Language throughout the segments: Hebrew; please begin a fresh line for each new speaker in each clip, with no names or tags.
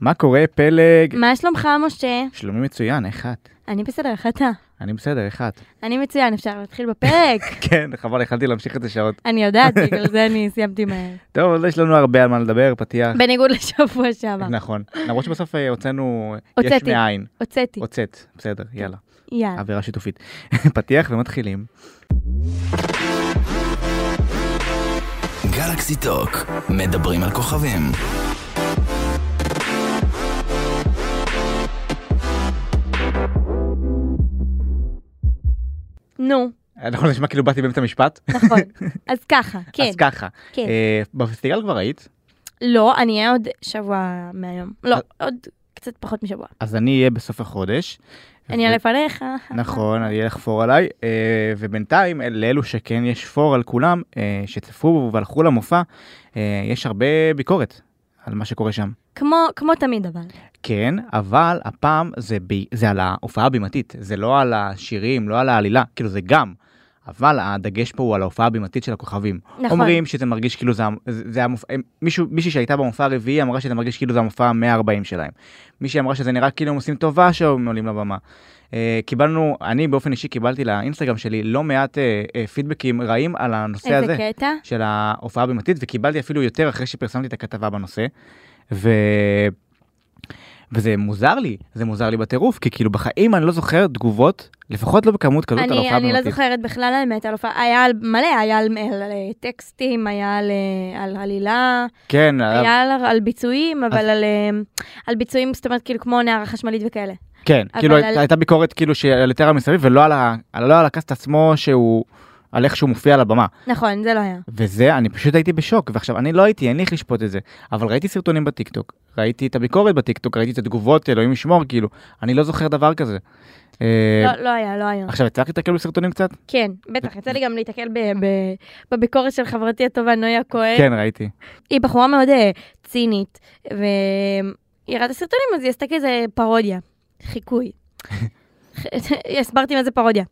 מה קורה, פלג?
מה שלומך, משה?
שלומי מצוין, איך את?
אני בסדר, איך אתה?
אני בסדר, איך את?
אני מצוין, אפשר להתחיל בפרק.
כן, חבל, יכלתי להמשיך את השעות.
אני יודעת, בגלל זה אני סיימתי מהר.
טוב, אז יש לנו הרבה על מה לדבר, פתיח.
בניגוד לשבוע שעבר.
נכון. למרות שבסוף אה, הוצאנו אה, יש
הוצאתי. כן.
מאין.
הוצאתי.
הוצאת, בסדר, יאללה.
יאללה.
אווירה שיתופית. פתיח ומתחילים.
גלקסי טוק, מדברים על כוכבים.
נו,
נכון, נשמע כאילו באתי באמצע משפט?
נכון. אז ככה, כן.
אז ככה.
כן.
אה, בפסטיגל כבר היית,
לא, אני אהיה עוד שבוע מהיום. לא,
אז-
עוד קצת פחות משבוע.
אז אני אהיה בסוף החודש.
אני אעלה לפניך.
נכון, אני אלך פור עליי, אה, ובינתיים אל- לאלו שכן יש פור על כולם, אה, שצפו והלכו למופע, אה, יש הרבה ביקורת על מה שקורה שם.
כמו- כמו תמיד אבל.
כן, אבל הפעם זה, ב... זה על ההופעה הבימתית, זה לא על השירים, לא על העלילה, כאילו זה גם, אבל הדגש פה הוא על ההופעה הבימתית של הכוכבים.
נכון.
אומרים שזה מרגיש כאילו זה, המ- זה, זה המופע, הם- מישהו, מישהי שהייתה במופע הרביעי אמרה שזה מרגיש כאילו זה המופע ה-140 שלהם. מישהי אמרה שזה נראה כאילו הם עושים טובה שהם עולים לבמה. אה, קיבלנו, אני באופן אישי קיבלתי לאינסטגרם שלי לא מעט אה, אה, פידבקים רעים על הנושא הזה.
איזה קטע?
של ההופעה הבימתית, וקיבלתי אפילו יותר אחרי שפרסמתי את הכתבה בנושא. ו... וזה מוזר לי, זה מוזר לי בטירוף, כי כאילו בחיים אני לא זוכר תגובות, לפחות לא בכמות כזאת על
אני,
ההופעה
אני לא
הבימתית.
זוכרת בכלל האמת על הופעה, היה על מלא, היה על, על, אה, טקסטים, היה על, אה, על עלילה,
כן, היה...
היה על, על ביצועים, אבל על, אה, על ביצועים, זאת אומרת, כאילו כמו נערה חשמלית וכאלה.
כן,
אבל
כאילו
על-
על... הייתה ביקורת כאילו של יותר על מסביב, ולא על, ה... על- לא על הקאסט עצמו שהוא... על איך שהוא מופיע על הבמה.
נכון, זה לא היה.
וזה, אני פשוט הייתי בשוק, ועכשיו, אני לא הייתי, אין לי איך לשפוט את זה, אבל ראיתי סרטונים בטיקטוק, ראיתי את הביקורת בטיקטוק, ראיתי את התגובות, אלוהים ישמור, כאילו, אני לא זוכר דבר כזה. אה,
לא, לא היה, לא היה.
עכשיו יצא לך להתקל בסרטונים קצת?
כן, בטח, יצא לי גם להתקל ב- ב- בביקורת של חברתי הטובה נויה כהן.
כן, ראיתי.
היא בחורה מאוד אה, צינית, והיא ראתה סרטונים, אז היא עשתה כזה פרודיה, חיקוי. הסברתי מה זה פרודיה.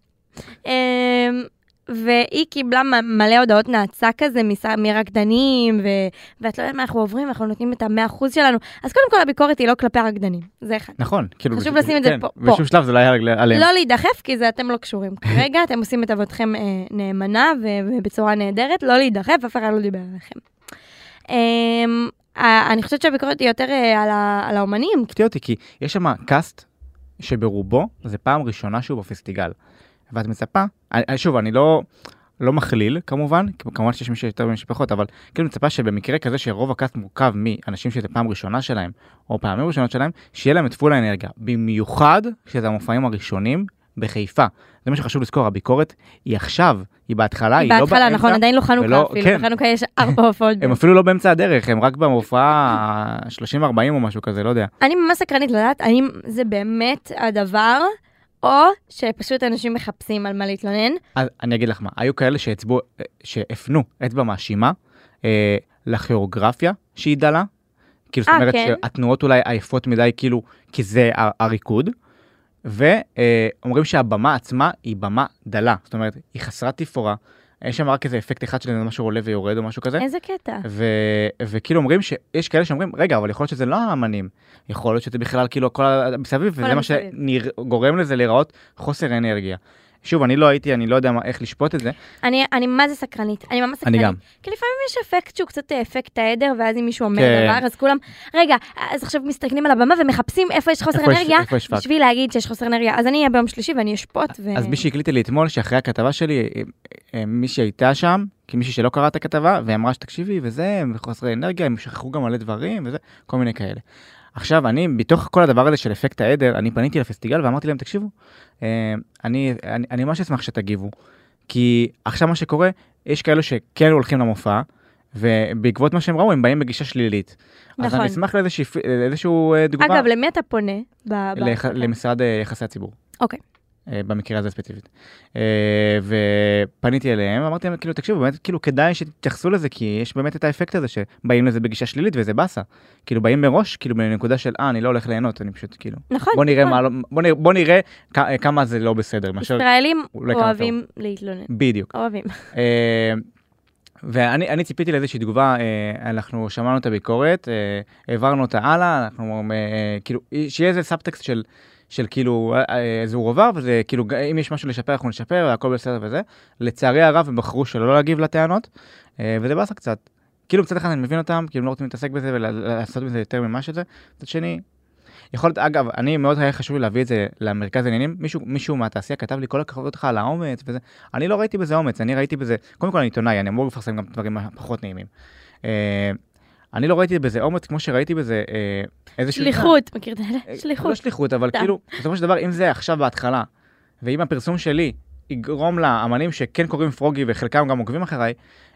אמ, והיא קיבלה מ- מלא הודעות נאצה כזה מס- מרקדנים, ו... ואת לא יודעת מה אנחנו עוברים, אנחנו נותנים את המאה אחוז שלנו. אז קודם כל הביקורת היא לא כלפי הרקדנים, זה אחד.
נכון, כאילו...
חשוב
בש-
לשים את זה
כן,
פה- פה.
בשום שלב זה לא היה רגל- עליהם.
לא להידחף, כי זה אתם לא קשורים כרגע, אתם עושים את עבודתכם אה, נאמנה ו- ובצורה נהדרת, לא להידחף, אף אחד לא דיבר עליכם. אמ, ה- אני חושבת שהביקורת היא יותר אה, על ה- על האומנים.
הפתיע אותי, כי יש שם קאסט שברובו זה פעם ראשונה שהוא בפסטיגל. ואת מצפה, אני- שוב, אני לא... לא מכליל כמובן, כי כמובן שיש מי שיותר ומי שפחות, אבל כאילו מצפה שבמקרה כזה שרוב הקאסט מורכב מאנשים שזה פעם ראשונה שלהם, או פעמים ראשונות שלהם, שיהיה להם את פול האנרגיה. במיוחד כשזה המופעים הראשונים בחיפה. זה מה שחשוב לזכור, הביקורת היא עכשיו, היא בהתחלה, היא לא באמצע.
בהתחלה, נכון, עדיין לא חנוכה
ולא-
אפילו,
כן.
בחנוכה יש ארבע הופעות.
הם אפילו לא באמצע הדרך, הם רק במופע 30-40 או משהו כזה, לא יודע.
אני ממש סקרנית לדעת האם זה באמת הדבר, או שפשוט אנשים מחפשים על מה להתלונן.
אז אני אגיד לך מה, היו כאלה שהצבו, אה, שהפנו אצבע מאשימה אה, לכיאוגרפיה שהיא דלה. כאילו, זאת
אה,
אומרת
כן.
שהתנועות אולי עייפות מדי, כאילו, כי זה ה- הריקוד. ואומרים שהבמה עצמה היא במה דלה, זאת אומרת, היא חסרת תפאורה. יש שם רק איזה אפקט אחד של משהו עולה ויורד או משהו כזה.
איזה קטע.
ו, וכאילו אומרים שיש כאלה שאומרים רגע אבל יכול להיות שזה לא האמנים יכול להיות שזה בכלל כאילו כל ה- מסביב
כל
וזה מה
המסביב.
שגורם לזה להיראות חוסר אנרגיה. שוב אני לא הייתי אני לא יודע מה, איך לשפוט את זה
אני, אני מה זה סקרנית, אני ממש סקרנית.
אני גם.
כי לפעמים יש אפקט שהוא קצת אה, אפקט העדר, ואז אם מישהו אומר
כן.
דבר, אז כולם, רגע, אז עכשיו מסתכלים על הבמה ומחפשים איפה יש חוסר
איפה יש-
אנרגיה,
איפה יש פאק?
בשביל להגיד שיש חוסר אנרגיה. אז אני אהיה ביום שלישי ואני אשפוט, ו...
אז מישהי הקליטה לי אתמול שאחרי הכתבה שלי אה, אה, מישהי הייתה שם כי מישהי שלא קראה את הכתבה והיא אמרה שתקשיבי וזה הם חוסרי אנרגיה הם שכחו גם מלא דברים וזה כל מיני כאלה. עכשיו אני בתוך כל הדבר הזה של אפקט העדר אני פניתי לפסטיגל ואמרתי להם תקשיבו אה, אני אני, אני ממש אשמח שתגיבו כי עכשיו מה שקורה יש כאלו שכן הולכים למופע. ובעקבות מה שהם ראו הם באים בגישה שלילית. אז
נכון.
אני אשמח לאיזושהי איזשהו, אה, דוגמה.
אגב, למי אתה פונה? ב... ב-
לח- למשרד אה, יחסי הציבור.
אוקיי.
אה, במקרה הזה ספציפית. אה, ופניתי אליהם, אמרתי להם, כאילו, תקשיבו, באמת, כאילו, כדאי שתתייחסו לזה, כי יש באמת את האפקט הזה שבאים לזה בגישה שלילית וזה באסה. כאילו, באים מראש, כאילו, בנקודה של, אה, אני לא הולך ליהנות, אני פשוט, כאילו,
נכון,
בוא נראה
נכון.
מה, לא- בוא נראה, בוא נראה כ- אה, כמה זה לא בסדר, מאשר,
ישראלים
אולי כמה
אוהבים להתלונן.
בדיוק.
אוהבים.
אה, ואני אני ציפיתי לאיזושהי תגובה, אה, אנחנו שמענו את הביקורת, אה, העברנו אותה הלאה, אנחנו אה, כאילו, שיהיה איזה סאבטקסט של, של כאילו, אה, אה, זה הוא עבר, וזה כאילו, ג- אם יש משהו לשפר, אנחנו נשפר, והכל בסדר וזה. לצערי הרב, הם בחרו שלא להגיב לטענות, אה, וזה באסה קצת. כאילו, מצד אחד אני מבין אותם, כאילו, הם לא רוצים להתעסק בזה ולעשות מזה יותר ממה שזה, מצד שני... יכול להיות, אגב, אני מאוד היה חשוב לי להביא את זה למרכז העניינים, מישהו, מישהו מהתעשייה כתב לי כל הכבוד לך על האומץ וזה, אני לא ראיתי בזה אומץ, אני ראיתי בזה, קודם כל אני עיתונאי, אני אמור לפרסם גם דברים פחות נעימים. אה, אני לא ראיתי בזה אומץ כמו שראיתי בזה אה, איזשהו...
שליחות, מכיר את האלה?
אה,
שליחות.
לא שליחות, אבל
אתה.
כאילו, בסופו של דבר, אם זה עכשיו בהתחלה, ואם הפרסום שלי יגרום לאמנים שכן קוראים פרוגי וחלקם גם עוקבים אחריי,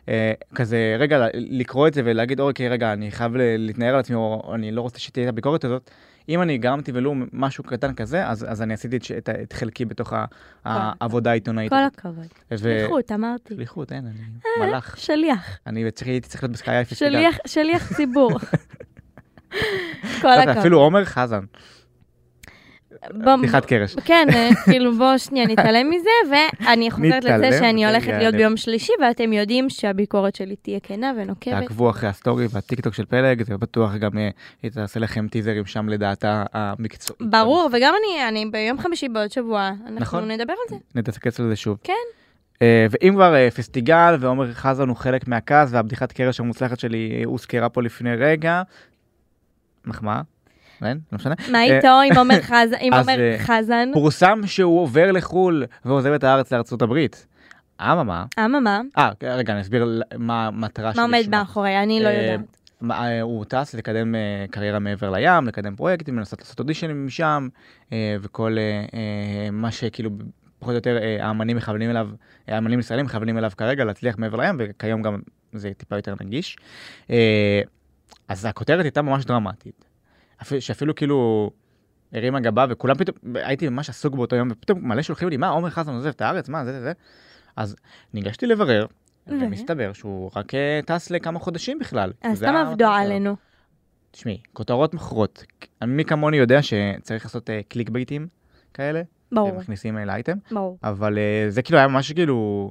אה, כזה רגע ל- לקרוא את זה ולהגיד אוקיי רגע אני חייב ל- להתנער על עצמי או אני לא רוצה שתהיה את הביקורת הזאת. אם אני גרמתי ולו משהו קטן כזה אז, אז אני עשיתי את, ש- את, ה- את חלקי בתוך ה- העבודה העיתונאית.
כל אה.
הזאת.
הכבוד.
ו-
שליחות, אמרתי.
שליחות, אין, אני מלאך.
שליח.
אני צריך- הייתי צריך להיות בסקאי אפס. אתה יודע.
שליח, שליח ציבור. כל
אתה לא יודע,
הכבוד.
אוקיי, אפילו עומר חזן,
בוא-
בדיחת קרש.
כן, אה, כאילו בוא שנייה נתעלם מזה, ואני חוזרת
נתעלם, כן,
לזה שאני
רגע,
הולכת להיות
אני-
ביום שלישי, ואתם יודעים שהביקורת שלי תהיה כנה ונוקבת.
תעקבו אחרי הסטורי והטיקטוק של פלג, זה בטוח גם אה, היא תעשה לכם טיזרים שם לדעתה המקצועית.
ברור, וגם אני, אני ביום חמישי בעוד שבוע, אנחנו
נכון.
נדבר על זה.
נתעסקץ על זה שוב.
כן.
אה, ואם כבר אה, פסטיגל ועומר חזן הוא חלק מהכעס והבדיחת קרש המוצלחת שלי אה, הוזכרה פה לפני רגע, מחמאה, אין? לא משנה.
מה איתו עם עומר חזן? עם
אז,
עומר
אה,
חזן?
פורסם שהוא עובר לחו"ל ועוזב את הארץ לארצות הברית. אממה,
אממה,
אה, רגע, אני אסביר ל- מה המטרה
מה
שלשמה.
עומד מאחורי? אני לא
אה,
יודעת.
מה, אה, הוא טס לקדם אה, קריירה מעבר לים, לקדם פרויקטים, לנסות לעשות אודישנים משם, אה, וכל אה, אה, מה שכאילו פחות או יותר אה, האמנים מכוונים אליו, אה, האמנים ישראלים מכוונים אליו כרגע להצליח מעבר לים, וכיום גם זה טיפה יותר נגיש. אה, אז הכותרת הייתה ממש דרמטית. אפילו, שאפילו כאילו הרימה גבה וכולם פתאום, הייתי ממש עסוק באותו יום, ופתאום מלא שולחים לי, מה, עומר חזן עוזב את הארץ, מה, זה, זה, זה. אז ניגשתי לברר,
ו?
ומסתבר שהוא רק אה, טס לכמה חודשים בכלל.
אז
זה
סתם
המטרה
עבדו
שלו.
עלינו.
תשמעי, כותרות מכרות. מי כמוני יודע שצריך לעשות אה, קליק בייטים כאלה,
ברור,
ומכניסים אה, לאייטם,
ברור.
אבל אה, זה כאילו היה ממש כאילו...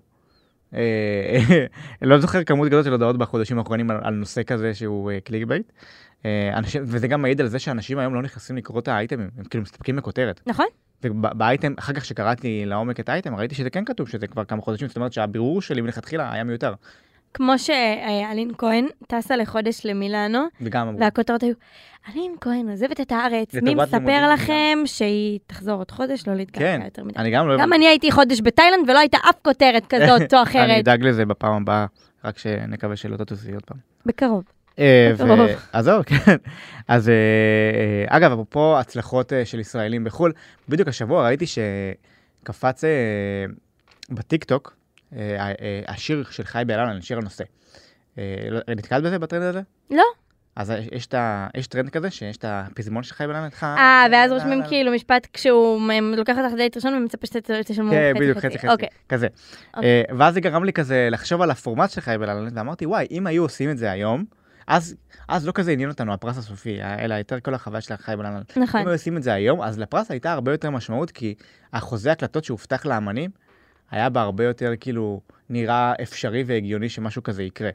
אה, לא זוכר כמות גדולה של הודעות בחודשים האחרונים על, על נושא כזה שהוא אה, קליק בייט. אה, אנשים, וזה גם מעיד על זה שאנשים היום לא נכנסים לקרוא את האייטמים, הם כאילו מסתפקים בכותרת.
נכון?
ובאייטם, אחר כך שקראתי לעומק את האייטם, ראיתי שזה כן כתוב, שזה כבר כמה חודשים, זאת אומרת שהבירור שלי מלכתחילה היה מיותר.
כמו שאלין כהן טסה לחודש למילאנו,
וגם אמרו,
והכותרות היו, אלין כהן עוזבת את הארץ, מי
לטובת לימודים
מספר
גם."
לכם שהיא תחזור עוד חודש, לא להתגעגע
כן,
יותר מדי.
אני גם לא...
גם אני הייתי חודש בתאילנד ולא הייתה אף כותרת כזאת או
אני
אחרת.
אדאג לזה בפעם הבאה, רק שנקווה שלא תטוסי עוד פעם.
בקרוב.
אה, ו-
טוב.
אז זהו, כן. אז אה, אה, אגב, אפרופו הצלחות אה, של ישראלים בחו"ל, בדיוק השבוע ראיתי שקפץ אה, בטיקטוק אה, אה, השיר של חי באלן, שיר הנושא. אה, לא- נתקלת בזה, בטרנד הזה?
לא.
אז יש- יש את ה- יש טרנד כזה שיש את הפזמון של חי באלן איתך.
אה, ואז
לא,
רושמים כאילו משפט כשהוא מ- לוקח אותך דייט ראשון ומצפה שתשלמו חצי
כן,
חצי.
בדיוק, חצי חצי,
אוקיי,
כזה.
אוקיי.
אה, ואז זה גרם לי כזה לחשוב על הפורמט של חיים בללנד, ואמרתי, וואי, אם היו עושים את זה היום, אז אז לא כזה עניין אותנו הפרס הסופי, אה, אלא יותר כל החוויה של חיים בללנד.
נכון.
אם היו עושים את זה היום, אז לפרס הייתה הרבה יותר משמעות, כי החוזה הקלטות שהובטח לאמנים, היה בה הרבה יותר כאילו נראה אפשרי והגיוני שמשהו כזה יקרה.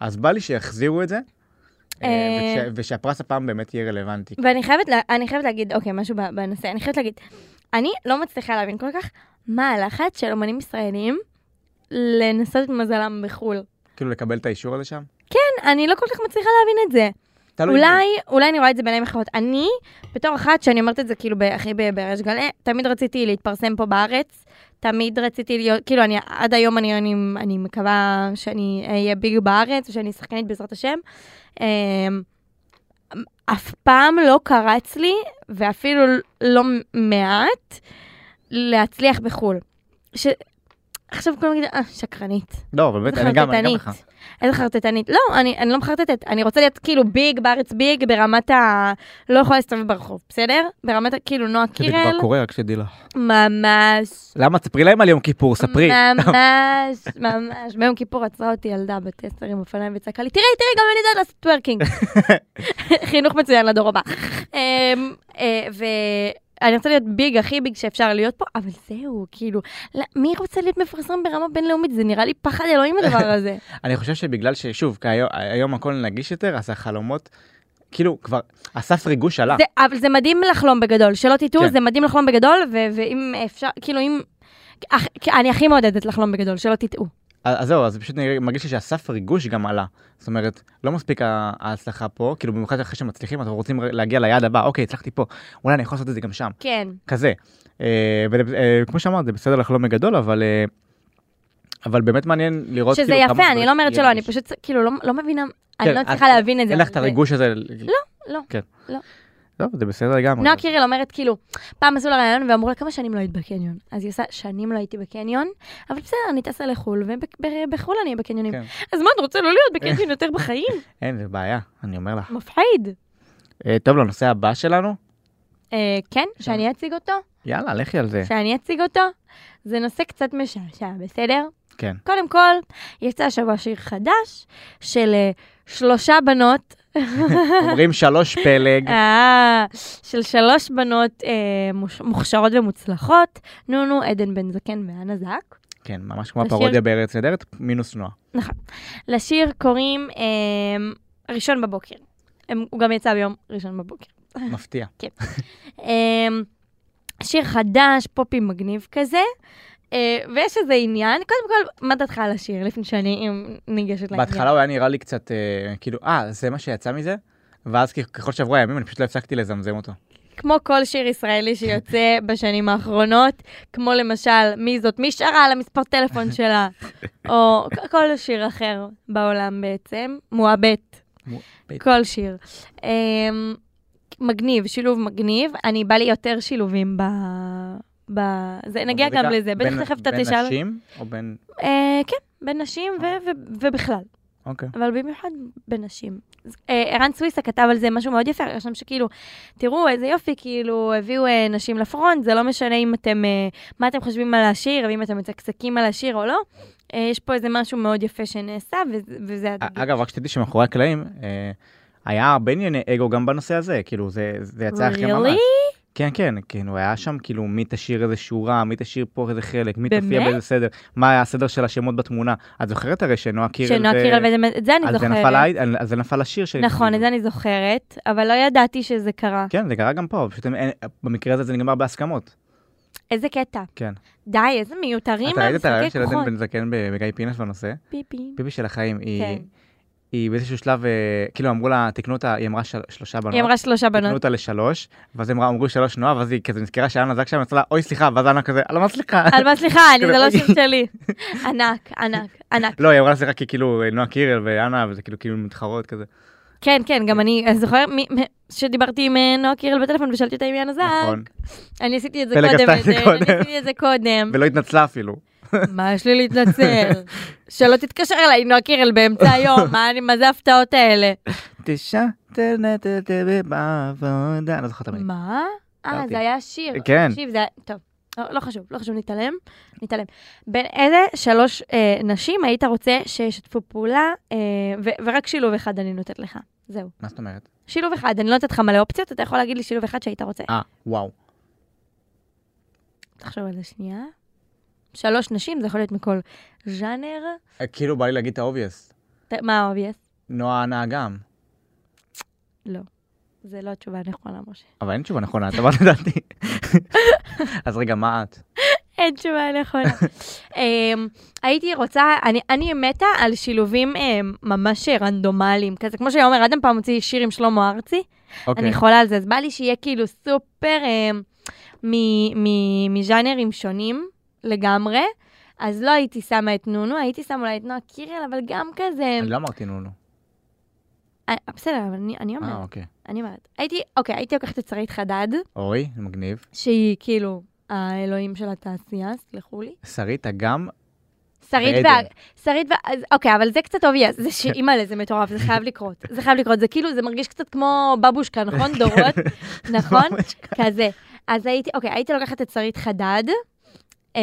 אז בא לי שיחזירו את זה, אה,
אה,
וכש- ושהפרס הפעם באמת יהיה רלוונטי.
ואני חייבת, לה, אני חייבת להגיד, אוקיי, משהו ב- בנושא, אני חייבת להגיד, אני לא מצליחה להבין כל כך מה הלחץ של אומנים ישראלים לנסות את מזלם בחו"ל.
כאילו לקבל את האישור הזה שם.
כן, אני לא כל כך מצליחה להבין את זה.
תלוי.
אולי, אולי אני רואה את זה בעיניים אחרות. אני, בתור אחת שאני אומרת את זה כאילו הכי בריש גלי, תמיד רציתי להתפרסם פה בארץ, תמיד רציתי להיות, כאילו אני, עד היום אני, אני, אני מקווה שאני אהיה ביג בארץ, ושאני שחקנית בעזרת השם. אמ, אף פעם לא קרץ לי, ואפילו לא מעט, להצליח בחו"ל. ש... עכשיו כולם יגידו, אה, שקרנית.
לא, אבל באמת, אני גם, אני גם לך.
איזה חרטטנית. לא, אני, אני לא מחרטטת, אני רוצה להיות כאילו ביג בארץ ביג ברמת ה... לא יכולה להסתובב ברחוב, בסדר? ברמת ה... כאילו נועה
שזה כבר
קירל,
קורה, רק שתדעי לך.
ממש.
למה? תספרי להם על יום כיפור, ספרי.
ממש, ממש. ביום כיפור עצרה אותי ילדה בת עשר עם אופניים וצעקה לי, תראי, תראי, גם אני יודעת לעשות טוורקינג. חינוך מצוין לדור הבא. אמ, אה, ו- אני רוצה להיות ביג, הכי ביג שאפשר להיות פה, אבל זהו, כאילו, לא, מי רוצה להיות מפרסם ברמה בינלאומית? זה נראה לי פחד אלוהים הדבר הזה.
אני חושב שבגלל ששוב, כי היום- היום הכל נגיש יותר, אז החלומות, כאילו כבר, הסף ריגוש עלה.
זה, אבל זה מדהים לחלום בגדול, שלא תטעו,
אה. כן.
זה מדהים לחלום בגדול, ו- ואם אפשר, כאילו, אם... אך- כי אני הכי מעודדת לחלום בגדול, שלא תטעו.
אז זהו, אז פשוט אני מרגיש לי שהסף ריגוש גם עלה. זאת אומרת, לא מספיק ה- ההצלחה פה, כאילו במיוחד אחרי שמצליחים, אתם רוצים להגיע ליעד הבא, אוקיי, הצלחתי פה, אולי אני יכול לעשות את זה גם שם,
כן.
כזה. אה, ול- אה, כמו שאמרת, זה בסדר לחלום בגדול, אבל... אה, אבל באמת מעניין לראות
שזה
כאילו כמה
יפה,
זה
אני לא אומרת
יהיה
שלא, אני
ריגוש.
פשוט, כאילו, לא- לא מבינה, אני לא
כן, את-
מצליחה להבין את זה.
אין לך את
זה-
הריגוש הזה.
לא,
כן.
לא.
טוב, זה בסדר לגמרי.
נועה קירל אומרת, כאילו, פעם עשו לה רעיון ואמרו לה, כמה שנים לא היית בקניון? אז היא עושה, שנים לא הייתי בקניון, אבל בסדר, אני טסה לחו"ל, ובחו"ל אני אהיה בקניונים.
כן.
אז מה, את רוצה לא להיות בקניון יותר בחיים?
אין, זה בעיה, אני אומר לך.
מפחיד.
אה, טוב, לנושא הבא שלנו?
אה, כן, שאני אציג אותו?
יאללה, לכי על זה.
שאני אציג אותו? זה נושא קצת משעשע, בסדר?
כן.
קודם כל, יצא השבוע שיר חדש של אה, שלושה בנות,
אומרים שלוש פלג.
אה, של שלוש בנות אה, מוש- מוכשרות ומוצלחות, נונו, עדן בן זקן ואנה זק.
כן, ממש כמו
לשיר-
הפרודיה בארץ נהדרת, מינוס נועה.
לשיר קוראים אה, ראשון בבוקר. הם, הוא גם יצא ביום ראשון בבוקר.
מפתיע.
אה, שיר חדש, פופי מגניב כזה, אה, ויש איזה עניין. קודם כל, מה דעתך על השיר, לפני שאני אה, ניגשת לעניין?
בהתחלה הוא היה נראה לי קצת, אה, כאילו, אה, זה מה שיצא מזה? ואז כ- ככל שעברו הימים, אני פשוט לא הפסקתי לזמזם אותו.
כמו כל שיר ישראלי שיוצא בשנים האחרונות, כמו למשל, מי זאת מי שרה על המספר טלפון שלה, או כ- כל שיר אחר בעולם בעצם, מועבט,
מועבט.
כל שיר. אמ, מגניב, שילוב מגניב, אני בא לי יותר שילובים ב... ב... זה, נגיע גם
מוזיקה
לזה, בטח
בין-
תכף אתה תשאל.
בין נשים או בין...
אה, כן, בין נשים ו- ו- ובכלל.
אוקיי.
אבל במיוחד בנשים. אז, אה, ערן סוויסה כתב על זה משהו מאוד יפה, היה שם שכאילו, תראו איזה יופי, כאילו, הביאו אה, נשים לפרונט, זה לא משנה אם אתם, אה, מה אתם חושבים על השיר, ואם אתם מצקצקים על השיר או לא, אה, יש פה איזה משהו מאוד יפה שנעשה, וזה- וזה...
א- אגב, רק שתדעי שמאחורי הקלעים, אה, היה הרבה ענייני אגו גם בנושא הזה, כאילו, זה זה יצא אחרי ממש.
Really?
כן, כן, כן, הוא היה שם, כאילו, מי תשאיר איזה שורה, מי תשאיר פה איזה חלק, מי תופיע
באמת?
באיזה סדר, מה היה הסדר של השמות בתמונה. את זוכרת הרי שנועה קירל...
שנועה
ו-
קירל וזה, את זה אני
על זה נפל
זוכרת.
ה- על- על זה נפל השיר של...
נכון, את זה אני זוכרת, אבל לא ידעתי שזה קרה.
כן, זה קרה גם פה, פשוט הם- אין- במקרה הזה זה נגמר בהסכמות.
איזה קטע.
כן.
די, איזה מיותרים
אתה ראית את הרעיון של
המשחקי
עדן
כוחות.
בן זקן ב- בגיא פינס בנושא?
פיפי.
ביבי של החיים, היא-
כן.
היא באיזשהו שלב, אה, כאילו אמרו לה, תקנו אותה, היא אמרה של- שלושה בנות.
היא אמרה שלושה
תקנו
בנות.
אותה לשלוש, ואז אמרה, אמרו שלוש נועה, ואז היא כזה נזכרה שאנה זק שם, יצאה לה, אוי סליחה, ואז אנה כזה, על מה סליחה?
על מה סליחה, אני, זה לא
אוי.
שיר שלי. ענק, ענק, ענק.
לא, היא אמרה סליחה כי כאילו אה, נועה קירל ואנה, וזה כאילו כאילו מתחרות כזה.
כן, כן, גם אני, אז זוכר מי- מי- שדיברתי עם אה, נועה קירל בטלפון ושאלתי אותה אם היא הנזק.
נכון.
אני עשיתי את זה
פלג
קודם, אה,
עשתה את זה
אני
קודם.
עשיתי את זה קודם.
ולא התנצלה אפילו.
מה יש לי להתנצל? שלא תתקשר אליי, נועה קירל, באמצע היום, מה אני- מה זה ההפתעות האלה?
תשע, תנתת בעבודה, אני לא זוכר את המילים.
מה? אה,
הכרתי.
זה היה שיר.
כן.
תקשיב, זה היה... טוב. לא, לא חשוב, לא חשוב, נתעלם, נתעלם. בין איזה שלוש אה, נשים היית רוצה שישתפו פעולה, אה, ו- ורק שילוב אחד אני נותנת לך. זהו.
מה זאת אומרת?
שילוב אחד, אני לא נותנת לך מלא אופציות, אתה יכול להגיד לי שילוב אחד שהיית רוצה.
אה, וואו.
תחשוב על זה שנייה. שלוש נשים, זה יכול להיות מכל ז'אנר.
אה, כאילו בא לי להגיד את האובייס.
ת- מה אובייס?
נועה אנה גם.
לא. זה לא התשובה הנכונה, משה.
אבל אין תשובה נכונה, את אמרת לדעתי. אז רגע, מה את?
אין תשובה נכונה. אמ, הייתי רוצה, אני, אני מתה על שילובים אמ, ממש רנדומליים, כזה, כמו שעומר אדם פעם הוציא שיר עם שלמה ארצי,
אוקיי.
אני חולה על זה, אז בא לי שיהיה כאילו סופר אמ, מ- מ- מז'אנרים שונים לגמרי. אז לא הייתי שמה את נונו, הייתי שמה אולי את נועה קירל, אבל גם כזה...
אני לא אמרתי נונו.
אה, בסדר, אבל אני, אני
אה,
אומרת,
אוקיי.
אני אומרת. הייתי, אוקיי, הייתי לוקחת את שרית חדד,
אוי, מגניב.
שהיא כאילו האלוהים של התעשייה, סלחו לי.
שרית אגם,
שרית
ועדן.
וה... שרית וה... אז, אוקיי, אבל זה קצת אובייס, זה ש... אימא'לה, זה מטורף, זה חייב לקרות. זה חייב לקרות, זה כאילו, זה מרגיש קצת כמו בבושקה, נכון? דורות, נכון? כזה. אז הייתי, אוקיי, הייתי לוקחת את שרית חדד, אה,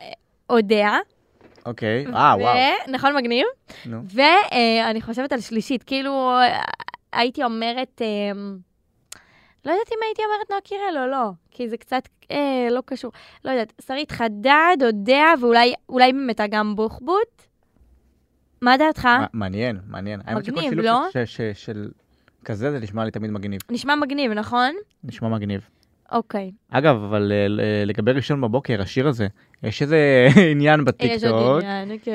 אה, אודיה.
אוקיי. אה,
ו-
וואו.
נכון, מגניב?
נו.
ואני חושבת על שלישית, כאילו, אה, הייתי אומרת, אה, לא יודעת אם הייתי אומרת נועה קירל או לא, כי זה קצת אה, לא קשור. לא יודעת, שרית חדד, או דעה, ואולי אולי באמת אגם בוחבוט? מה דעתך?
מ- מעניין, מעניין. האמת שכל
אה? מגניב,
שילוב
לא?
ש- ש- ש- של כזה, זה נשמע לי תמיד מגניב.
נשמע מגניב, נכון?
נשמע מגניב.
אוקיי.
אגב, אבל אה, ל- אה, לגבי ראשון בבוקר, השיר הזה, יש איזה עניין
אה, יש עוד
בטיקטוק.
עניין, כן.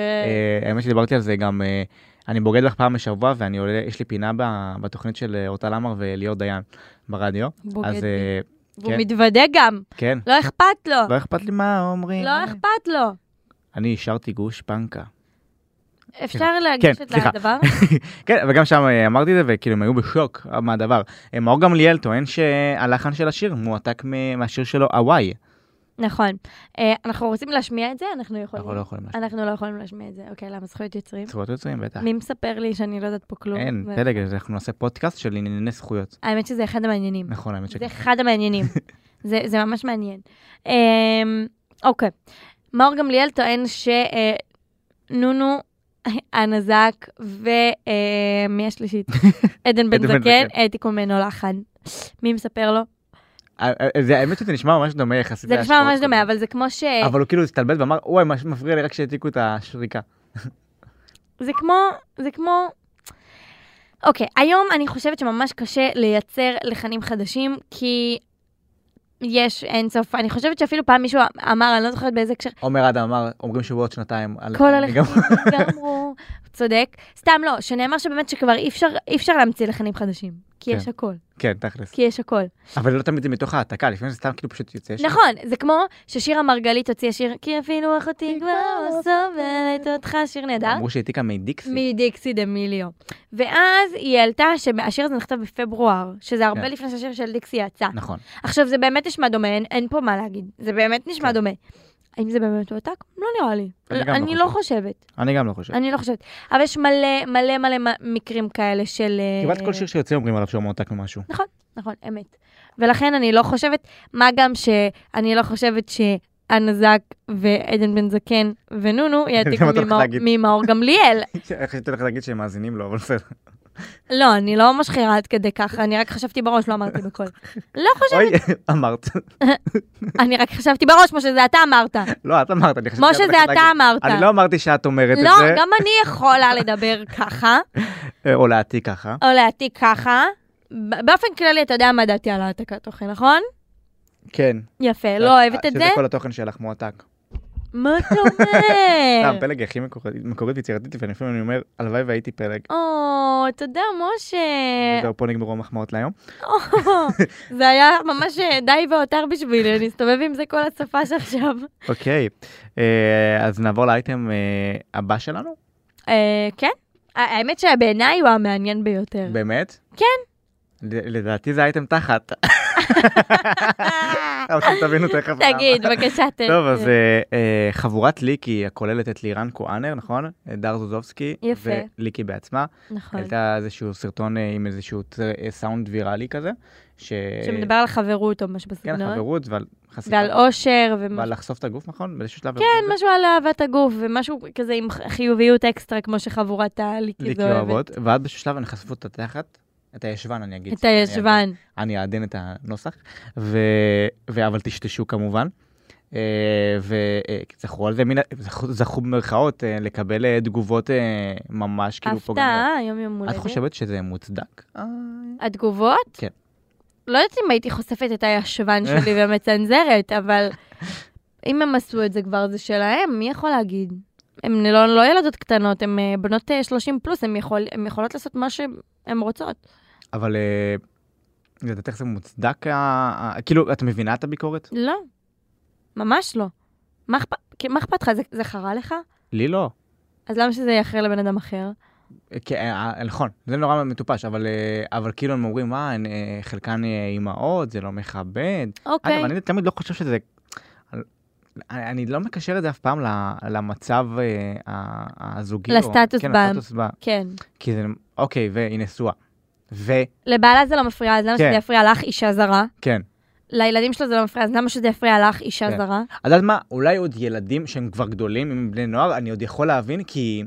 אה, האמת שדיברתי על זה גם, אה, אני בוגד לך פעם בשבוע, ואני עולה, יש לי פינה ב- בתוכנית של אה, אורטל עמר וליאור דיין ברדיו.
בוגד
אז
בי.
אה,
והוא
כן.
מתוודה גם,
כן,
לא אכפת לו.
לא אכפת לי מה אומרים.
לא אכפת לו.
אני השארתי גוש פנקה.
אפשר לגשת
סליחה.
לדבר?
כן, וגם שם אה, אמרתי את זה, וכאילו הם היו בשוק מהדבר. אה, מאור גמליאל טוען שהלחן של השיר מועתק מ- מהשיר שלו, הוואי.
נכון. אה, אנחנו רוצים להשמיע את זה? אנחנו יכולים.
אנחנו לא יכולים להשמיע.
אנחנו לא יכולים להשמיע את זה. אוקיי, למה זכויות יוצרים?
זכויות יוצרים, בטח.
מי מספר לי שאני לא יודעת פה כלום?
אין,
ו-
פלג, אז אנחנו נעשה פודקאסט של ענייני זכויות.
האמת שזה אחד המעניינים.
נכון, האמת שכן.
זה אחד המעניינים. זה, זה ממש מעניין. אמ, אוקיי. מאור גמליאל טוען אה, שנונו, אה, הנזק ומי אה, השלישית? עדן בן
עדן בן
זקן אה,
זקן.
העתיקו ממנו לחן. מי מספר לו?
אה, אה, זה- האמת שזה נשמע ממש דומה יחסית.
זה נשמע
להשפעות
ממש
כזה.
דומה, אבל זה כמו ש...
כן. אבל הוא כאילו הסתלבט ואמר, וואי, מה שמפריע לי רק שהעתיקו את השריקה.
זה כמו, זה כמו... אוקיי, היום אני חושבת שממש קשה לייצר לחנים חדשים, כי יש אינסוף. אני חושבת שאפילו פעם מישהו אמר, אני לא זוכרת באיזה הקשר,
עומר אדם אמר, אומרים שהוא בעוד שנתיים. על-
כל
אני
הלחנים
גם-
נגמרו. צודק. סתם לא, שנאמר שבאמת שכבר אי אפשר, אי אפשר להמציא לחנים חדשים. כי
כן.
יש הכל,
כן, תכלס.
כי יש הכל.
אבל לא תמיד זה מתוך ההעתקה, לפעמים זה סתם כאילו פשוט יוצא. שם.
נכון, זה כמו ששירה מרגלית הוציאה שיר, כי אפילו אחותי כבר לא סובלת אותך, שיר נהדר.
אמרו שהעתיקה מדיקסי.
מדיקסי דמיליו. ואז היא העלתה שהשיר הזה נכתב בפברואר, שזה הרבה
כן.
לפני שהשיר של דיקסי יצא.
נכון.
עכשיו, זה באמת נשמע דומה, אין, אין פה מה להגיד. זה באמת נשמע
כן.
דומה. האם זה באמת הועתק? לא נראה לי.
אני
לא-
גם לא
אני לא
חושב.
חושבת.
אני גם לא חושב.
אני לא חושבת. אבל יש מלא מלא מלא מ- מקרים כאלה של... אה,
כמעט כל שיר שיוצא אומרים עליו שהוא מועתק ממשהו.
נכון, אמת. ולכן אני לא חושבת, מה גם שאני לא חושבת שהנזק ועדן בן זקן ונונו יעתיקו
מה אתה הולך
ממאור-
להגיד?
ממאור גמליאל.
איך הייתי הולך להגיד שהם מאזינים לו, אבל בסדר.
לא, אני לא משחירה עד כדי ככה, אני רק חשבתי בראש, לא אמרתי בקול. לא חושבת,
אוי, אמרת.
אני רק חשבתי בראש, משה, זה אתה אמרת.
לא, את אמרת, אני חשבתי... שאת
משה, זה
הולכת
אתה
להגיד.
אמרת.
אני לא אמרתי שאת אומרת את
לא,
זה,
גם אני יכולה לדבר ככה,
אה, או להעתיק ככה.
או להעתיק ככה. ב- באופן כללי, אתה יודע מה דעתי על העתקת תוכן, נכון?
כן.
יפה, לא אוהבת את זה? אה.
שזה כל התוכן שלך מועתק.
מה אתה אומר?
סתם, פלג היא הכי מקורית- מקורית ויצירתית, ולפעמים אני אומר, הלוואי והייתי פלג.
או, תודה, משה. אה.
זהו, פה נגמרו המחמאות להיום.
או,
לא-
זה היה ממש אה, די והותר בשבילי, אני אסתובב עם זה כל הסופש עכשיו.
אוקיי, אה, אז נעבור לאייטם אה, הבא שלנו,
אה, כן? האמת שבעיניי הוא המעניין ביותר.
באמת?
כן.
ל- לדעתי זה אייטם תחת. אבל אתם תבינו תכף. למה.
תגיד, בבקשה, תן.
טוב, אז אה, אה, חבורת ליקי הכוללת את לירן כהנר, נכון? דר זוזובסקי.
יפה.
וליקי בעצמה.
נכון.
העלתה איזשהו סרטון אה, עם איזשהו צר- אה, סאונד ויראלי כזה. ש-
שמדבר על חברות או משהו
אה, כן,
בסגנון.
חברות ועל חשיפה.
ועל אושר
ועל
ומשהו
לחשוף את הגוף, נכון? באיזשהו שלב. כן,
משהו על אהבת הגוף ומשהו כזה עם ח- חיוביות אקסטרה, כמו שחבורת הליקיז
ליקי
אוהבת.
אוהבות. ואז באיזשהו שלב הן חשפו את התחת. את הישבן, אני אגיד.
את הישבן.
אני אעדן את הנוסח, ו... ו... אבל טשטשו כמובן. אה, וזכו על זה, מין... זכו, זכו במרכאות אה, לקבל אה, תגובות אה, ממש כאילו פוגעניות.
הפתעה, יום יום
את
הולדת.
חושבת שזה מוצדק? אה,
התגובות?
כן.
לא יודעת אם הייתי חושפת את הישבן שלי ומצנזרת, אבל אם הם עשו את זה כבר, זה שלהם, מי יכול להגיד? הן לא, לא ילדות קטנות, הן אה, בנות אה, 30 פלוס, הן יכול, הן יכולות לעשות מה שהן רוצות.
אבל אה, לדעתך זה מוצדק? ה... ה- כאילו, את מבינה את הביקורת?
לא, ממש לא. מה אכפ- כי- מה אכפת לך? זה, זה חרה לך?
לי לא.
אז למה שזה יאחר לבן אדם אחר?
אה, כן, אה, אה, נכון, זה נורא מטופש, אבל, אה, אבל כאילו הם אומרים, מה, הן, אה, חלקן אה, אימהות, זה לא מכבד,
אוקיי.
אגב, אני תמיד לא חושב שזה... אני, אני לא מקשר את זה אף פעם ל- למצב אה, ה- הזוגי. או-
לסטטוס
כן,
ב-
לסטטוס ב...
כן.
כי זה, אוקיי, והיא נשואה. וכן,
לבעלה זה לא מפריע, אז למה
כן.
שזה יפריע לך, אישה זרה? לילדים שלו זה לא מפריע, אז למה שזה יפריע לך, אישה
כן.
זרה?
את יודעת מה, אולי עוד ילדים שהם כבר גדולים, הם בני נוער, אני עוד יכול להבין, כי...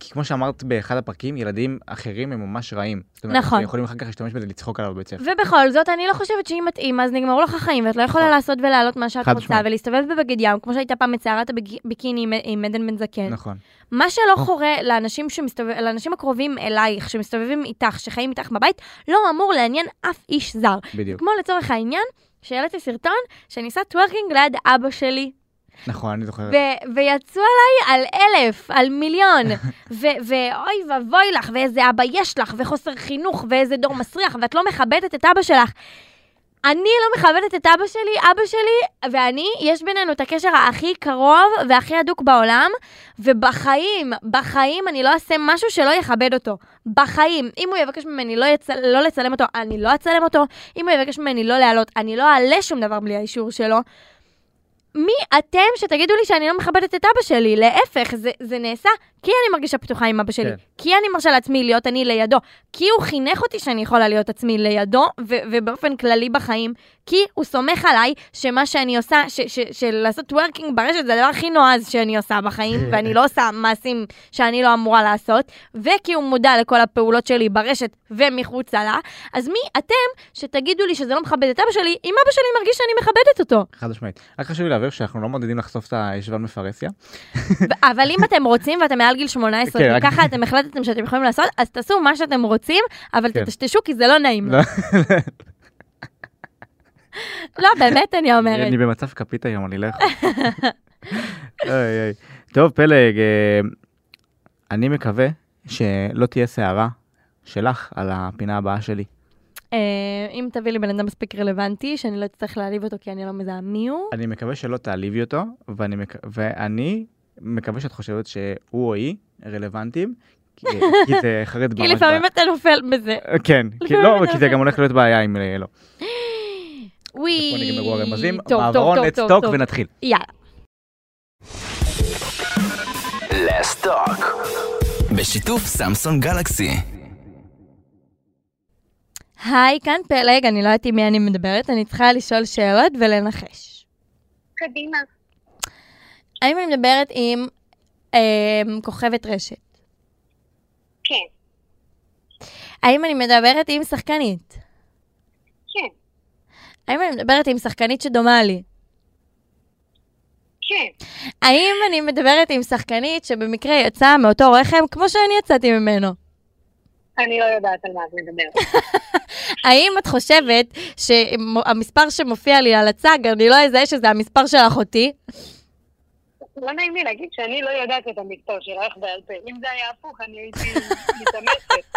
כי כמו שאמרת באחד הפרקים, ילדים אחרים הם ממש רעים. זאת אומרת,
נכון.
הם יכולים אחר כך להשתמש בזה לצחוק עליו בבית ספר.
ובכל זאת, אני לא חושבת שאם מתאים, אז נגמרו לך חיים, ואת לא יכולה
נכון.
לעשות ולהעלות מה שאת
חד
רוצה,
משמעית.
ולהסתובב בבגד ים, כמו שהייתה פעם את סערת הביקיני עם- עם עדן בן זקן.
נכון.
מה שלא חורה לאנשים, שמסתובב, לאנשים הקרובים אלייך, שמסתובבים איתך, שחיים איתך בבית, לא אמור לעניין אף איש זר.
בדיוק.
כמו לצורך העניין, שהעליתי סרטון שניסה טוורקינג ליד אבא שלי,
נכון, אני זוכר.
ו- ויצאו עליי על אלף, על מיליון, ו- ואוי ואבוי לך, ואיזה אבא יש לך, וחוסר חינוך, ואיזה דור מסריח, ואת לא מכבדת את אבא שלך. אני לא מכבדת את אבא שלי, אבא שלי ואני, יש בינינו את הקשר הכי קרוב והכי הדוק בעולם, ובחיים, בחיים אני לא אעשה משהו שלא יכבד אותו. בחיים. אם הוא יבקש ממני לא, יצ... לא לצלם אותו, אני לא אצלם אותו. אם הוא יבקש ממני לא להעלות, אני לא אעלה שום דבר בלי האישור שלו. מי אתם שתגידו לי שאני לא מכבדת את אבא שלי? להפך, זה, זה נעשה כי אני מרגישה פתוחה עם אבא שלי.
כן.
כן. כי אני מרשה לעצמי להיות אני לידו. כי הוא חינך אותי שאני יכולה להיות עצמי לידו, ו- ובאופן כללי בחיים. כי הוא סומך עליי שמה שאני עושה, ש- ש- שלעשות וורקינג ברשת זה הדבר הכי נועז שאני עושה בחיים, ואני לא עושה מעשים שאני לא אמורה לעשות, וכי הוא מודע לכל הפעולות שלי ברשת ומחוצה לה, אז מי אתם שתגידו לי שזה לא מכבד את אבא שלי, אם אבא שלי מרגיש שאני מכבדת אותו?
חד משמעית. רק חשוב לי להבהיר שאנחנו לא מעודדים לחשוף את הישבן מפרסיה.
ו- אבל אם אתם רוצים ואתם מעל גיל 18,
כן, רק-
וככה אתם החלטתם שאתם יכולים לעשות, אז תעשו מה שאתם רוצים, אבל
כן.
תטשטשו כי זה לא נעים.
לא.
לא, באמת אני אומרת.
אני במצב כפית היום, אני לא יכול. אוי, אוי. טוב, פלג, אה, אני מקווה שלא תהיה סערה שלך על הפינה הבאה שלי.
אה, אם תביא לי בן אדם מספיק רלוונטי, שאני לא אצטרך להעליב אותו כי אני לא מזהה מי הוא.
אני מקווה שלא תעליבי אותו, ואני, מק... ואני מקווה שאת חושבת שהוא או היא רלוונטיים, כי כי זה חרד
כי
ממש...
לפעמים אתה נופל בזה.
ב- כן, כי
לפעמים
לא,
אתה
כי זה
עושה-
גם הולך להיות בעיה אם אה, לא.
וואי.
פה נגמרו הרמזים,
טוב, טוב,
בעברון
טוב,
let's
טוב,
talk
טוב.
ונתחיל.
יאללה.
בשיתוף סמסון גלקסי.
היי, כאן פלג, אני לא יודעת עם מי אני מדברת, אני צריכה לשאול שאלות ולנחש.
קדימה.
האם אני מדברת עם אה, כוכבת רשת?
כן,
האם אני מדברת עם שחקנית?
כן,
האם אני מדברת עם שחקנית שדומה לי?
כן,
האם אני מדברת עם שחקנית שבמקרה יצאה מאותו רחם כמו שאני יצאתי ממנו?
אני לא יודעת על מה את מדברת.
האם את חושבת שהמספר שמופיע לי על הצג, אני לא אזהה שזה המספר של אחותי?
לא נעים לי להגיד שאני לא יודעת את המקצוע שלך בעל פה. אם זה היה הפוך, אני הייתי מתאמצת.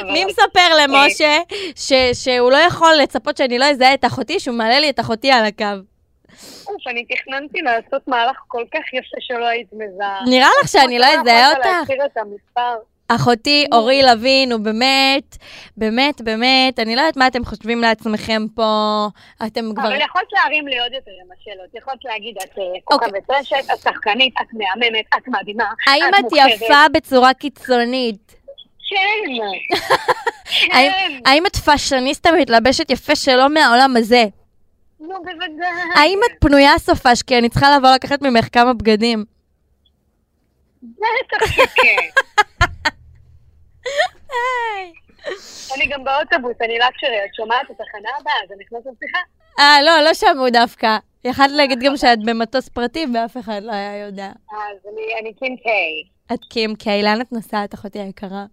אבל-
מי מספר למשה ש- שהוא לא יכול לצפות שאני לא אזהה את אחותי, שהוא מעלה לי את אחותי על הקו?
אוף, אני תכננתי לעשות מהלך כל כך יפה שלא היית מזהה.
נראה לך שאני לא
אתה
אזהה
יכולת
אותך?
להכיר את המספר.
אחותי אורי לוין, הוא באמת, באמת, באמת, אני לא יודעת מה אתם חושבים לעצמכם פה, אתם כבר...
אבל יכולת להרים לי עוד יותר עם השאלות. יכולת להגיד, את אה, כוכבת רשת, את שחקנית, את מהממת, את מדהימה.
אוקיי. האם את
מוכשרת."
יפה בצורה קיצונית?
כן.
האם-
כן.
האם את פאשניסטה מתלבשת יפה שלא מהעולם הזה?
כן. נו, בוודאי.
האם את פנויה סופש? כי אני צריכה לבוא לקחת ממך כמה בגדים.
בטח שכן. אני גם באוטובוס, אני לקשרי, את שומעת את התחנה הבאה, אז אני נכנסת לשיחה.
אה, לא, לא שמעו דווקא. יכלת להגיד גם שאת במטוס פרטי ואף אחד לא היה יודע.
אז אני- אני קינקיי.
את קים קיי, לאן את נוסעת, אחותי היקרה?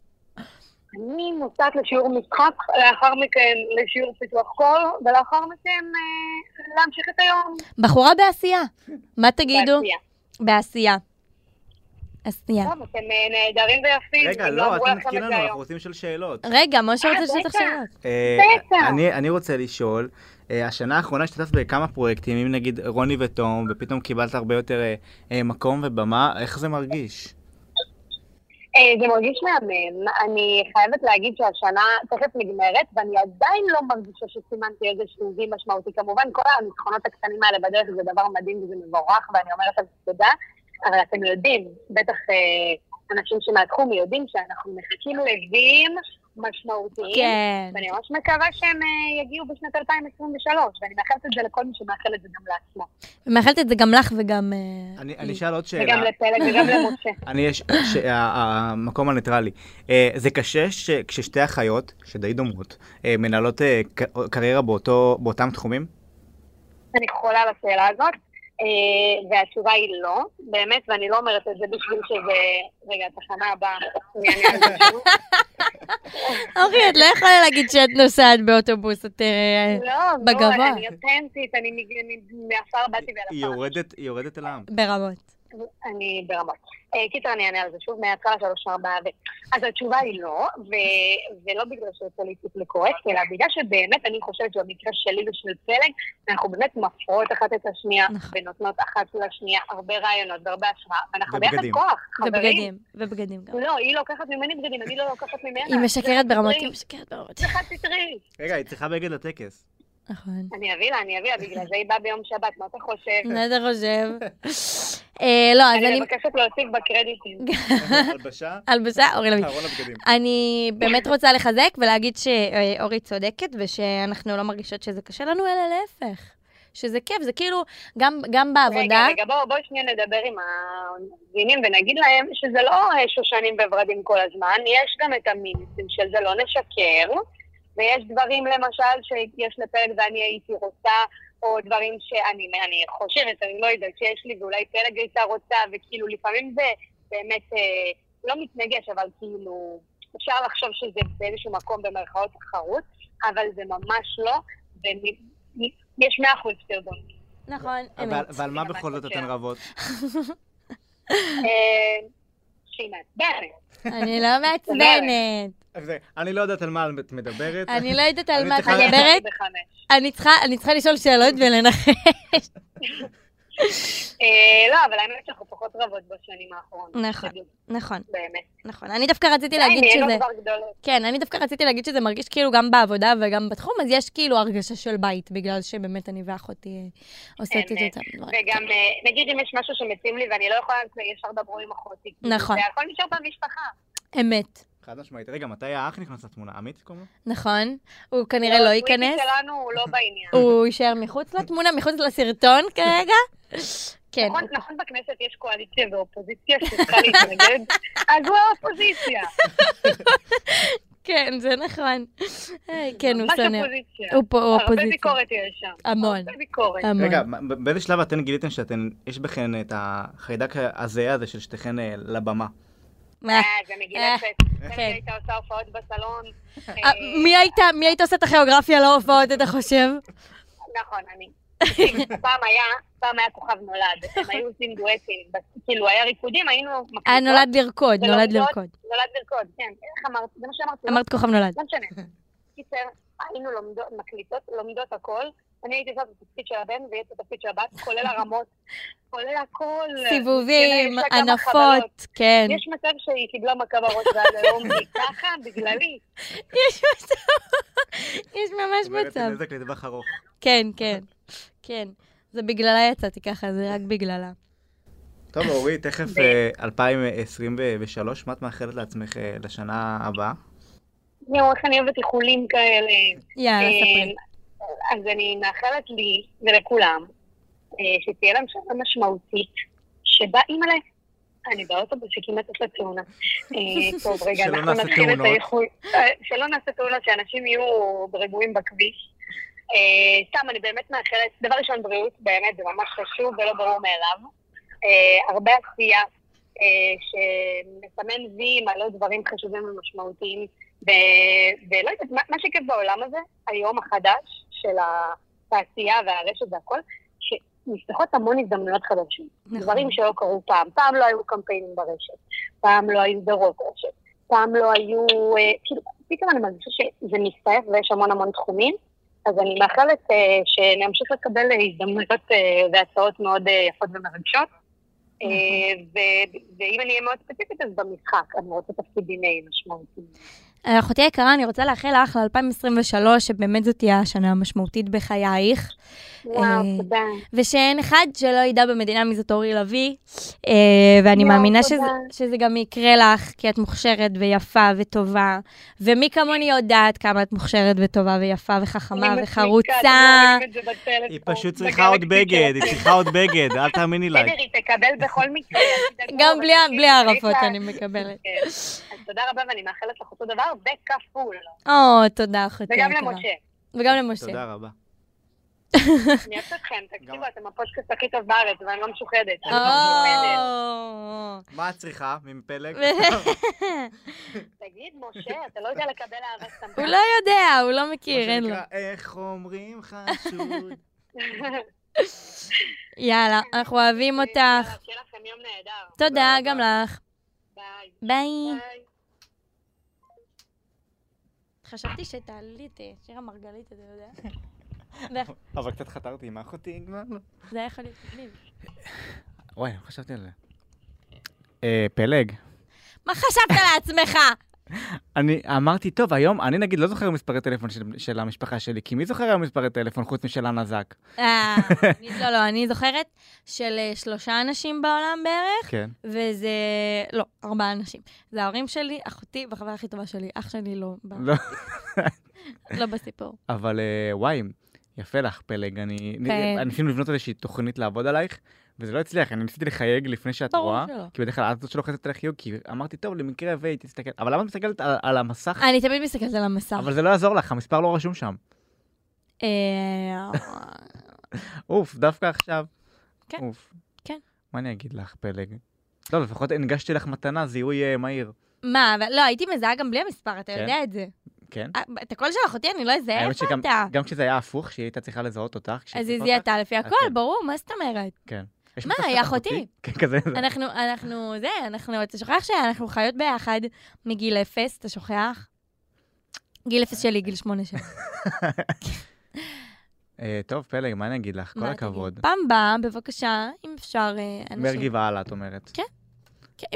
אני נוסעת לשיעור משחק, לאחר מכן לשיעור פיתוח קול, ולאחר מכן אה, להמשיך את היום.
בחורה בעשייה. מה תגידו?
בעשייה.
בעשייה. עשייה.
טוב, אתם אה, נהדרים ויפים. אם
לא,
אמרו לכם את זה היום.
רוצים לשאול שאלות.
רגע, משה
אה,
רוצה לשאול אותך
בטח.
שאלות.
אה,
בטח.
אני, אני רוצה לשאול, אה, השנה האחרונה השתתפת בכמה פרויקטים, אם נגיד רוני ותום, ופתאום קיבלת הרבה יותר אה, אה, מקום ובמה, איך זה מרגיש?
אה, זה מרגיש מהמם. אני חייבת להגיד שהשנה תכף נגמרת, ואני עדיין לא מרגישה שסימנתי איזשהו וי משמעותי. כמובן, כל הניצחונות הקטנים האלה בדרך זה דבר מדהים וזה מבורך, ואני אומרת על זה תודה, אבל אתם יודעים, בטח אה, אנשים שמהתחום יודעים שאנחנו מחכים לווים משמעותיים.
כן.
ואני ממש מקווה שהם אה, יגיעו בשנת 2023, ואני מאחלת את זה לכל מי שמאחל את זה גם לעצמו.
ומאחלת את זה גם לך וגם... אה,
אני
לי.
אני אשאל עוד שאלה.
וגם לפלג וגם למשה.
אני יש, ש- ה- ה- המקום הניטרלי. אה, זה קשה שכששתי אחיות, שדי דומות, אה, מנהלות אה, ק- קריירה באותו- באותם תחומים?
אני חולה על השאלה הזאת, אה, והתשובה היא לא, באמת, ואני לא אומרת את זה בשביל שזה... רגע, התחנה הבאה. אני אענה על זה שוב.
אורי, את לא יכולה להגיד שאת נוסעת באוטובוס, את... אה,
לא, בוא,
בגבוה.
אני אותנטית, אני מג- אני מעפר באתי
היא
ועל עפר.
יורדת, היא יורדת אל העם.
ברמות.
אני ברמות. אה, קיצר, אני אענה על זה שוב, מההתחלה שלוש ארבע ו... אז התשובה היא לא, ו- ולא בגלל שיוצא לי טיפ לקורקט, אלא בגלל שבאמת אני חושבת שבמקרה שלי ושל פלג, אנחנו באמת מפרות אחת את השנייה,
נכון.
ונותנות אחת לשנייה הרבה רעיונות והרבה השראה, ואנחנו ביחד
ובגדים.
כוח, חברים.
ובגדים, ובגדים גם.
לא, היא לוקחת ממני בגדים, אני לא לוקחת ממנה.
היא משקרת ברמות, היא
זה
משקרת ברמות.
חד סטרי.
רגע, היא צריכה בגד לטקס.
נכון.
אני אביא לה, אני אביא לה, בגלל זה היא באה ביום שבת, מה אתה חושב?
מה אתה חושב? אה, לא, אז
אני
אני...
מבקשת להוסיף בקרדיטים.
הלבשה, לא
הלבשה, אורי לוי.
ארון אה, הבגדים.
אני באמת רוצה לחזק ולהגיד שאורי צודקת ושאנחנו לא מרגישות שזה קשה לנו, אלא להפך. שזה כיף, זה כאילו, גם, גם בעבודה,
רגע, רגע, בואו בוא שנייה נדבר עם המאזינים ונגיד להם שזה לא אה, שושנים וורדים כל הזמן, יש גם את המיניסים של זה, לא נשקר, ויש דברים למשל שיש לפלג ואני הייתי רוצה, או דברים שאני אני חושבת, אני לא יודעת, שיש לי ואולי פלג הייתה רוצה, וכאילו לפעמים זה באמת אה, לא מתנגש, אבל כאילו אפשר לחשוב שזה באיזשהו מקום במרכאות תחרות, אבל זה ממש לא, ויש מאה אחוז פרדון.
נכון,
אבל
אמת.
ועל מה
רגע,
בכל
מה
זאת
הקשר?
אתן רבות?
אה, שהיא מעצבנת.
אני לא מעצבנת.
זה- אני לא יודעת על מה את מדברת.
אני לא יודעת על
אני
מה את
צריכה-
מדברת.
אני בחמש.
אני צריכה, אני צריכה לשאול שאלות ולנחש.
אה, לא, אבל האמת שאנחנו פחות רבות בשנים האחרונות.
נכון.
בדיוק,
נכון,
באמת. אה,
נכון. אני דווקא רציתי להגיד
די,
שזה...
נהיינו כבר גדולות.
כן, אני דווקא רציתי להגיד שזה מרגיש כאילו גם בעבודה וגם בתחום, אז יש כאילו הרגשה של בית, בגלל שבאמת אני ואחותי אה, עושות את
אמת.
אותם דברים.
וגם, אה, נגיד אם יש משהו שמציעים לי ואני לא יכולה, אז ישר דברו עם אחותי. כי
נכון.
זה הכל נשאר במשפחה.
אמת,
חד משמעית. רגע, מתי האח נכנס לתמונה? עמית קוראים לו?
נכון? הוא כנראה לא ייכנס.
הוויקי שלנו הוא לא בעניין.
הוא יישאר מחוץ לתמונה, מחוץ לסרטון כרגע. כן,
נכון- נכון בכנסת יש קואליציה ואופוזיציה שצריכה להתנגד, אז הוא האופוזיציה.
כן, זה נכון. אה, כן, הוא
ממש
שונא.
אופוזיציה.
הוא פה- הוא
הרבה
אופוזיציה.
ביקורת יש שם.
המון.
הרבה ביקורת.
המון.
רגע, מה- ב- באיזה שלב אתן גיליתן שאתן, יש בכן את החיידק הזהה הזה של שתיכן אה, לבמה?
אה,
אה, זה
אה,
מגילת
כן.
פסק. כן. הייתה עושה הופעות בסלון.
אה,
אה,
מי היית, מי היית עושה את הכיאוגרפיה להופעות, אתה חושב?
נכון, אני. פעם היה, פעם היה כוכב נולד, הם היו עושים דואטים, בס- כאילו היה ריקודים, היינו...
אה,
מקליטות
נולד לרקוד, נולד
ולומדות-
לרקוד.
נולד לרקוד, כן, איך אמרת? זה מה שאמרתי.
אמרת כוכב נולד.
לא משנה. קיצר, היינו לומדות, מקליטות, לומדות הכל, אני הייתי עושה את התפקיד של הבן והיא את התפקיד של הבת, כולל הרמות, כולל הכל.
סיבובים,
כן, יש לה כמה חבלות.
ענפות, כן.
יש מצב שהיא קיבלה מכה בראש ועד היום היא ככה, בגללי.
יש מצב, יש ממש
אומרת,
מצב.
נזק לטווח ארוך.
כן, כן, כן. זה בגללה יצאתי ככה, זה רק בגללה.
טוב, אורי, תכף אה, 2023, מה את מאחלת לעצמך אה, לשנה הבאה?
נו, איך אני אוהבת איחולים כאלה.
יאללה, אה, לא ספרי.
אה, אז אני מאחלת לי ולכולם אה, שתהיה להם שנה משמעותית, שבה אימא'לה, אני באוטובוס שכמעט עושה תאונה. אה, טוב, רגע,
שלא
אנחנו
נעשה
נתחיל את
תאונות.
האיחול. אה, שלא נעשה תאונות, שאנשים יהיו רגועים בכביש. אה, סתם, אני באמת מאחלת, דבר ראשון, בריאות, באמת, זה ממש חשוב ולא ברור מאליו. אה, הרבה עשייה אה, שמסמן וי מלא דברים חשובים ומשמעותיים, ו- ולא יודעת, מה, מה שכיף בעולם הזה, היום החדש של התעשייה והרשת והכל, שנפתחות המון הזדמנויות חדשות.
נכון.
נכון. דברים שלא קרו פעם. פעם לא היו קמפיינים ברשת, פעם לא היו סדרות רשת, פעם לא היו... אה, כאילו, פתאום אני מרגישה שזה מסתעף ויש המון המון תחומים, אז אני מאחלת אה, שנמשיך לקבל אה, הזדמנויות אה, והצעות מאוד אה, יפות ומרגשות. אה, ו- ואם אני אהיה מאוד ספציפית, אז במשחק, אני רוצה תפקידים אה, משמעותיים.
אחותי היקרה, אני רוצה לאחל לך ל-2023, שבאמת זאת תהיה השנה המשמעותית בחייך.
וואו,
אה,
תודה.
ושאין אחד שלא ידע במדינה מי זאת אורי לביא, אה, ואני
יואו,
מאמינה
תודה.
שזה, שזה גם יקרה לך, כי את מוכשרת ויפה וטובה, ומי כמוני יודעת כמה את מוכשרת וטובה ויפה וחכמה
אני מצחיקה, אתם לא
וחרוצה.
רואים את זה בטלפון,
היא פשוט צריכה עוד
בגלקסי
בגד,
שלכם.
היא צריכה עוד בגד, אל תאמיני
כן,
לה.
בסדר, היא תקבל בכל מקרה. אל תדאגו,
גם
אבל
בלי ה-
תקשיבי,
בלי הערפות
צריך לה-
אני מקבלת.
כן. אז תודה רבה, ואני מאחלת לך אותו דבר, בכפול.
או, תודה אחותי
וגם
היקרה.
למשה.
וגם למשה.
תודה רבה.
אני אוהבת אתכם, תקשיבו, אתם הפודקאסט הכי טוב בארץ, ואני לא משוחדת.
או.
אני לא משוחדת.
מה את צריכה
כן,
מפלג?
תגיד, משה, אתה לא יודע לקבל אהבה סתם.
הוא לא יודע, הוא לא מכיר, אין לו.
איך אומרים חשוד?
יאללה, אנחנו אוהבים אותך.
שיהיה לכם יום נהדר.
תודה
תודה
גם
רבה.
לך.
ביי.
ביי.
ביי.
חשבתי שתעלי את שיר המרגלית, אתה יודע? זה-
אבל קצת חתרתי עם אחותי כבר.
זה היה יכול להיות מגניב.
וואי, לא חשבתי על זה. אה, פלג.
מה חשבת לעצמך?
אני אמרתי, טוב, היום, אני נגיד לא זוכר מספרי טלפון של, של המשפחה שלי, כי מי זוכר היום מספרי טלפון חוץ משל הנזק?
אה, אני- לא, לא, אני זוכרת של אה, שלושה אנשים בעולם בערך,
כן.
וזה... לא, ארבעה אנשים. זה ההורים שלי, אחותי והחברה הכי טובה שלי. אח שלי לא ב-
לא,
לא בסיפור.
אבל אה, וואי, יפה לך, פלג. אני...
כן.
אני ניסינו לבנות איזושהי תוכנית לעבוד עלייך, וזה לא הצליח, אני ניסיתי לחייג לפני שאת
ברור
רואה.
שלא.
כי בדרך כלל את זאת שלוחצת על החיוג, כי אמרתי, טוב, למקרה והיא תסתכל. אבל למה את מסתכלת על, על המסך?
אני תמיד מסתכלת על המסך.
אבל זה לא יעזור לך, המספר לא רשום שם.
אה,
אוף, דווקא עכשיו.
כן.
אוף.
כן.
מה אני אגיד לך, פלג? לא, לפחות הנגשתי לך מתנה, זיהוי אה, מהיר.
מה, אבל לא, הייתי מזהה גם בלי המספר, אתה
כן.
יודע את זה.
כן.
אה, את הקול של אחותי אני לא אזהה
האמת
איפה
שגם-
אתה.
גם כשזה היה הפוך, שהיא הייתה צריכה לזהות אותך.
אז
כשהיא זיהתה
היא
אותך,
זיהתה לפי הכל,
כן.
ברור, מה זאת אומרת?
יש
מה,
מצב
היא
שאת
אחותי?
כן, כזה. זה.
אנחנו, אנחנו, זה, אנחנו, אתה שוכח שאנחנו חיות ביחד מגיל אפס, אתה שוכח? גיל אפס שלי, גיל שמונה שלי.
אה, טוב, פלג, מה אני אגיד לך? כל
מה, תגיד?
הכבוד.
פעם באה, בבקשה, אם אפשר, אה,
מרגי
אנשים...
והלאה, את אומרת.
כן,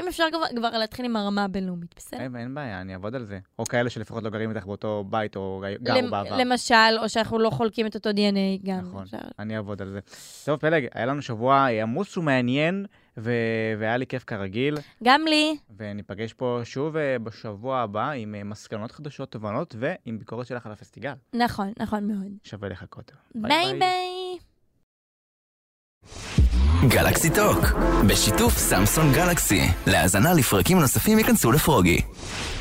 אם אפשר כבר- כבר להתחיל עם הרמה הבינלאומית, בסדר?
אין אין בעיה, אני אעבוד על זה. או כאלה שלפחות לא גרים איתך באותו בית, או גרו
למ-
בעבר.
למשל, או שאנחנו לא חולקים את אותו DNA גם.
נכון.
אפשר.
אני אעבוד על זה. טוב, פלג, היה לנו שבוע אה, עמוס ומעניין, ו- והיה לי כיף כרגיל,
גם לי.
וניפגש פה שוב אה, בשבוע הבא עם אה, מסקנות חדשות, תובנות, ועם ביקורת שלך על הפסטיגל.
נכון, נכון מאוד.
שווה לחכות.
ביי ביי.
גלקסי טוק, בשיתוף סמסון גלקסי. להאזנה לפרקים נוספים ייכנסו לפרוגי.